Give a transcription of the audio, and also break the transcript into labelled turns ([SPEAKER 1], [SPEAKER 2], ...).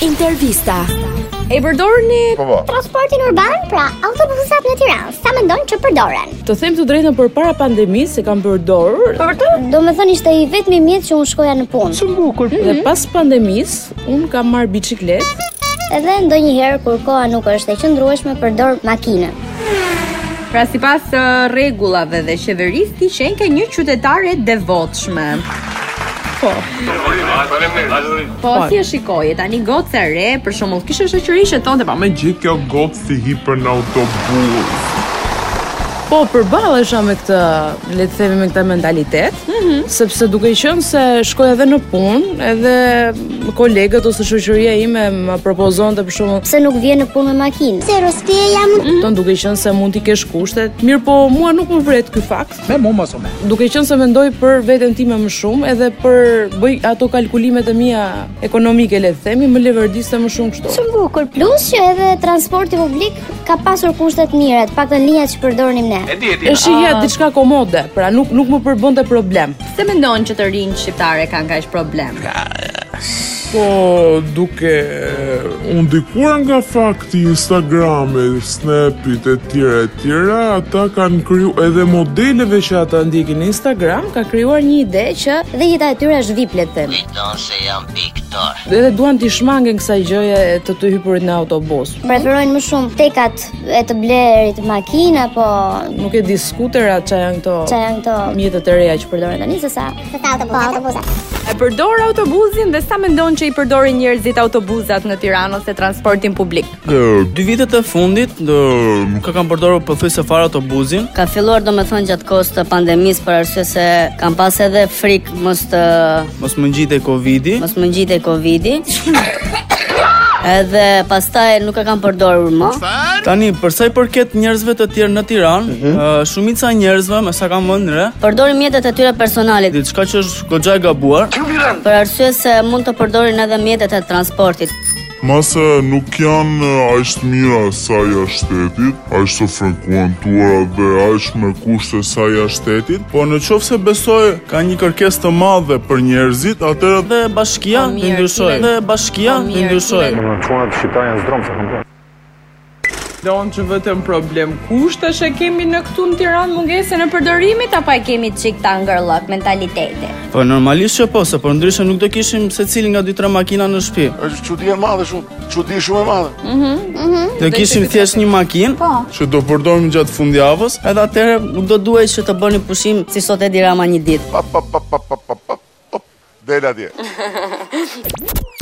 [SPEAKER 1] Intervista. E përdorni
[SPEAKER 2] Po po.
[SPEAKER 3] Transportin urban, pra autobusat në Tiranë, sa mendojnë që përdoren?
[SPEAKER 1] Të them të drejtën për para pandemisë se kam përdorur
[SPEAKER 3] Për të? Do me thënë ishte i vetmi mjetë që unë shkoja në punë.
[SPEAKER 2] Shumë bukur. Mhm.
[SPEAKER 1] dhe pas pandemisë un kam marr biçikletë.
[SPEAKER 3] Edhe ndonjëherë kur koha nuk është e qëndrueshme përdor makinën.
[SPEAKER 4] Pra si pas regullave dhe qeveris, ti qenë ke një qytetare devotshme.
[SPEAKER 1] Po.
[SPEAKER 4] Po, si e shikoje, tani gocë e re, për shembull, kishe shoqëri që thonë pa më
[SPEAKER 2] Gjë kjo gocë si hipër në autobus.
[SPEAKER 5] Po përballesha me këtë, le të themi me këtë mentalitet,
[SPEAKER 1] Mhm.
[SPEAKER 5] sepse duke qenë se shkoj edhe në punë, edhe kolegët ose shoqëria ime më propozonte për shkakun
[SPEAKER 3] Pse nuk vjen në punë me makinë? Mhm. Se rrëspje jam
[SPEAKER 1] Mhm.
[SPEAKER 5] ton duke qenë se mund t'i kesh kushtet. Mirë, po mua nuk më vret ky fakt.
[SPEAKER 2] Me mu mos o me.
[SPEAKER 5] Duke qenë se mendoj për veten time më shumë, edhe për bëj ato kalkulimet e mia ekonomike, le të themi, më levërdiste më shumë kështu.
[SPEAKER 3] shumë bukur. Plus që edhe transporti publik ka pasur kushtet mira, të paktën linjat që përdornim ne.
[SPEAKER 5] E shihja
[SPEAKER 3] Ah.
[SPEAKER 5] diçka komode, pra nuk nuk më përbënte problem.
[SPEAKER 4] Se mendon që të rinë shqiptare kanë kaq problem.
[SPEAKER 6] Po, duke eh, unë ndikuar nga fakti i Instagramit, Snapit e tjera e tjera, ata kanë kryu edhe modeleve që ata ndikin në Instagram.
[SPEAKER 5] Ka krijuar një ide që
[SPEAKER 3] Dhe jeta e tyre është VIP le të themi.
[SPEAKER 5] edhe duan t'i shmangen kësaj gjëje të të hypurit në autobus.
[SPEAKER 3] Preferojnë më shumë tekat e të blerit makinë apo
[SPEAKER 5] Nuk e di skutera që janë këto
[SPEAKER 3] çfarë janë këto
[SPEAKER 5] mjetet e reja që përdoren tani.
[SPEAKER 3] tani se sa. Se sa po, autobusa.
[SPEAKER 4] E përdor autobusin dhe sa mendon që i përdorin njerëzit autobusat në Tiranë ose transportin publik?
[SPEAKER 7] Dy vitet e fundit
[SPEAKER 6] Eh,
[SPEAKER 7] nuk ka kam përdorur pothuajse fare autobusin.
[SPEAKER 8] Ka filluar do me thënë gjatë kohës të pandemisë për arsye se kam pas edhe frikë mos të
[SPEAKER 7] Mos më ngjitej Covidi.
[SPEAKER 8] mos më ngjitej Covidi. Edhe pastaj nuk e kam përdorur më.
[SPEAKER 7] Tani për sa i përket njerëzve të tjerë në Tiranë, ë, shumica e njerëzve, më sa kam vënë re,
[SPEAKER 8] Përdorim mjetet e tyre personale
[SPEAKER 7] diçka që është goxha e gabuar.
[SPEAKER 8] për arsye se mund të përdorin edhe mjetet e transportit.
[SPEAKER 6] Mase nuk janë eh, aq të mira sa jashtetit, aq të frekuentuara dhe aq me kushte sa jashtetit,
[SPEAKER 7] Po në qoftë se besoj ka një kërkesë të madhe për njerëzit, atëherë dhe bashkia
[SPEAKER 4] Po mirë,
[SPEAKER 7] të ndryshoj.
[SPEAKER 4] Kilen.
[SPEAKER 7] Dhe bashkia
[SPEAKER 4] Po
[SPEAKER 7] të
[SPEAKER 4] mirë,
[SPEAKER 7] ndryshoj.
[SPEAKER 4] Kilen.
[SPEAKER 5] Don që vetëm problem kushtesh e kemi në këtu në
[SPEAKER 4] Pra,
[SPEAKER 5] Tiranë mungesën e
[SPEAKER 4] Përdorimit apo e kemi çik ta ngërllok mentalitete?
[SPEAKER 7] Po normalisht që po, se për ndryshe nuk do kishim secili nga dy tre makina në shtëpi.
[SPEAKER 9] është çudi e madhe shumë, çudi shumë e madhe.
[SPEAKER 7] Do kishim thjesht një makinë
[SPEAKER 6] Po.
[SPEAKER 7] që do përdorim gjatë fundjavës, edhe atëherë nuk do duhej që të
[SPEAKER 8] Të bëni pushim si sot Edi Rama një ditë.
[SPEAKER 9] Pap pap pap pap pap pap. pap, Del atje.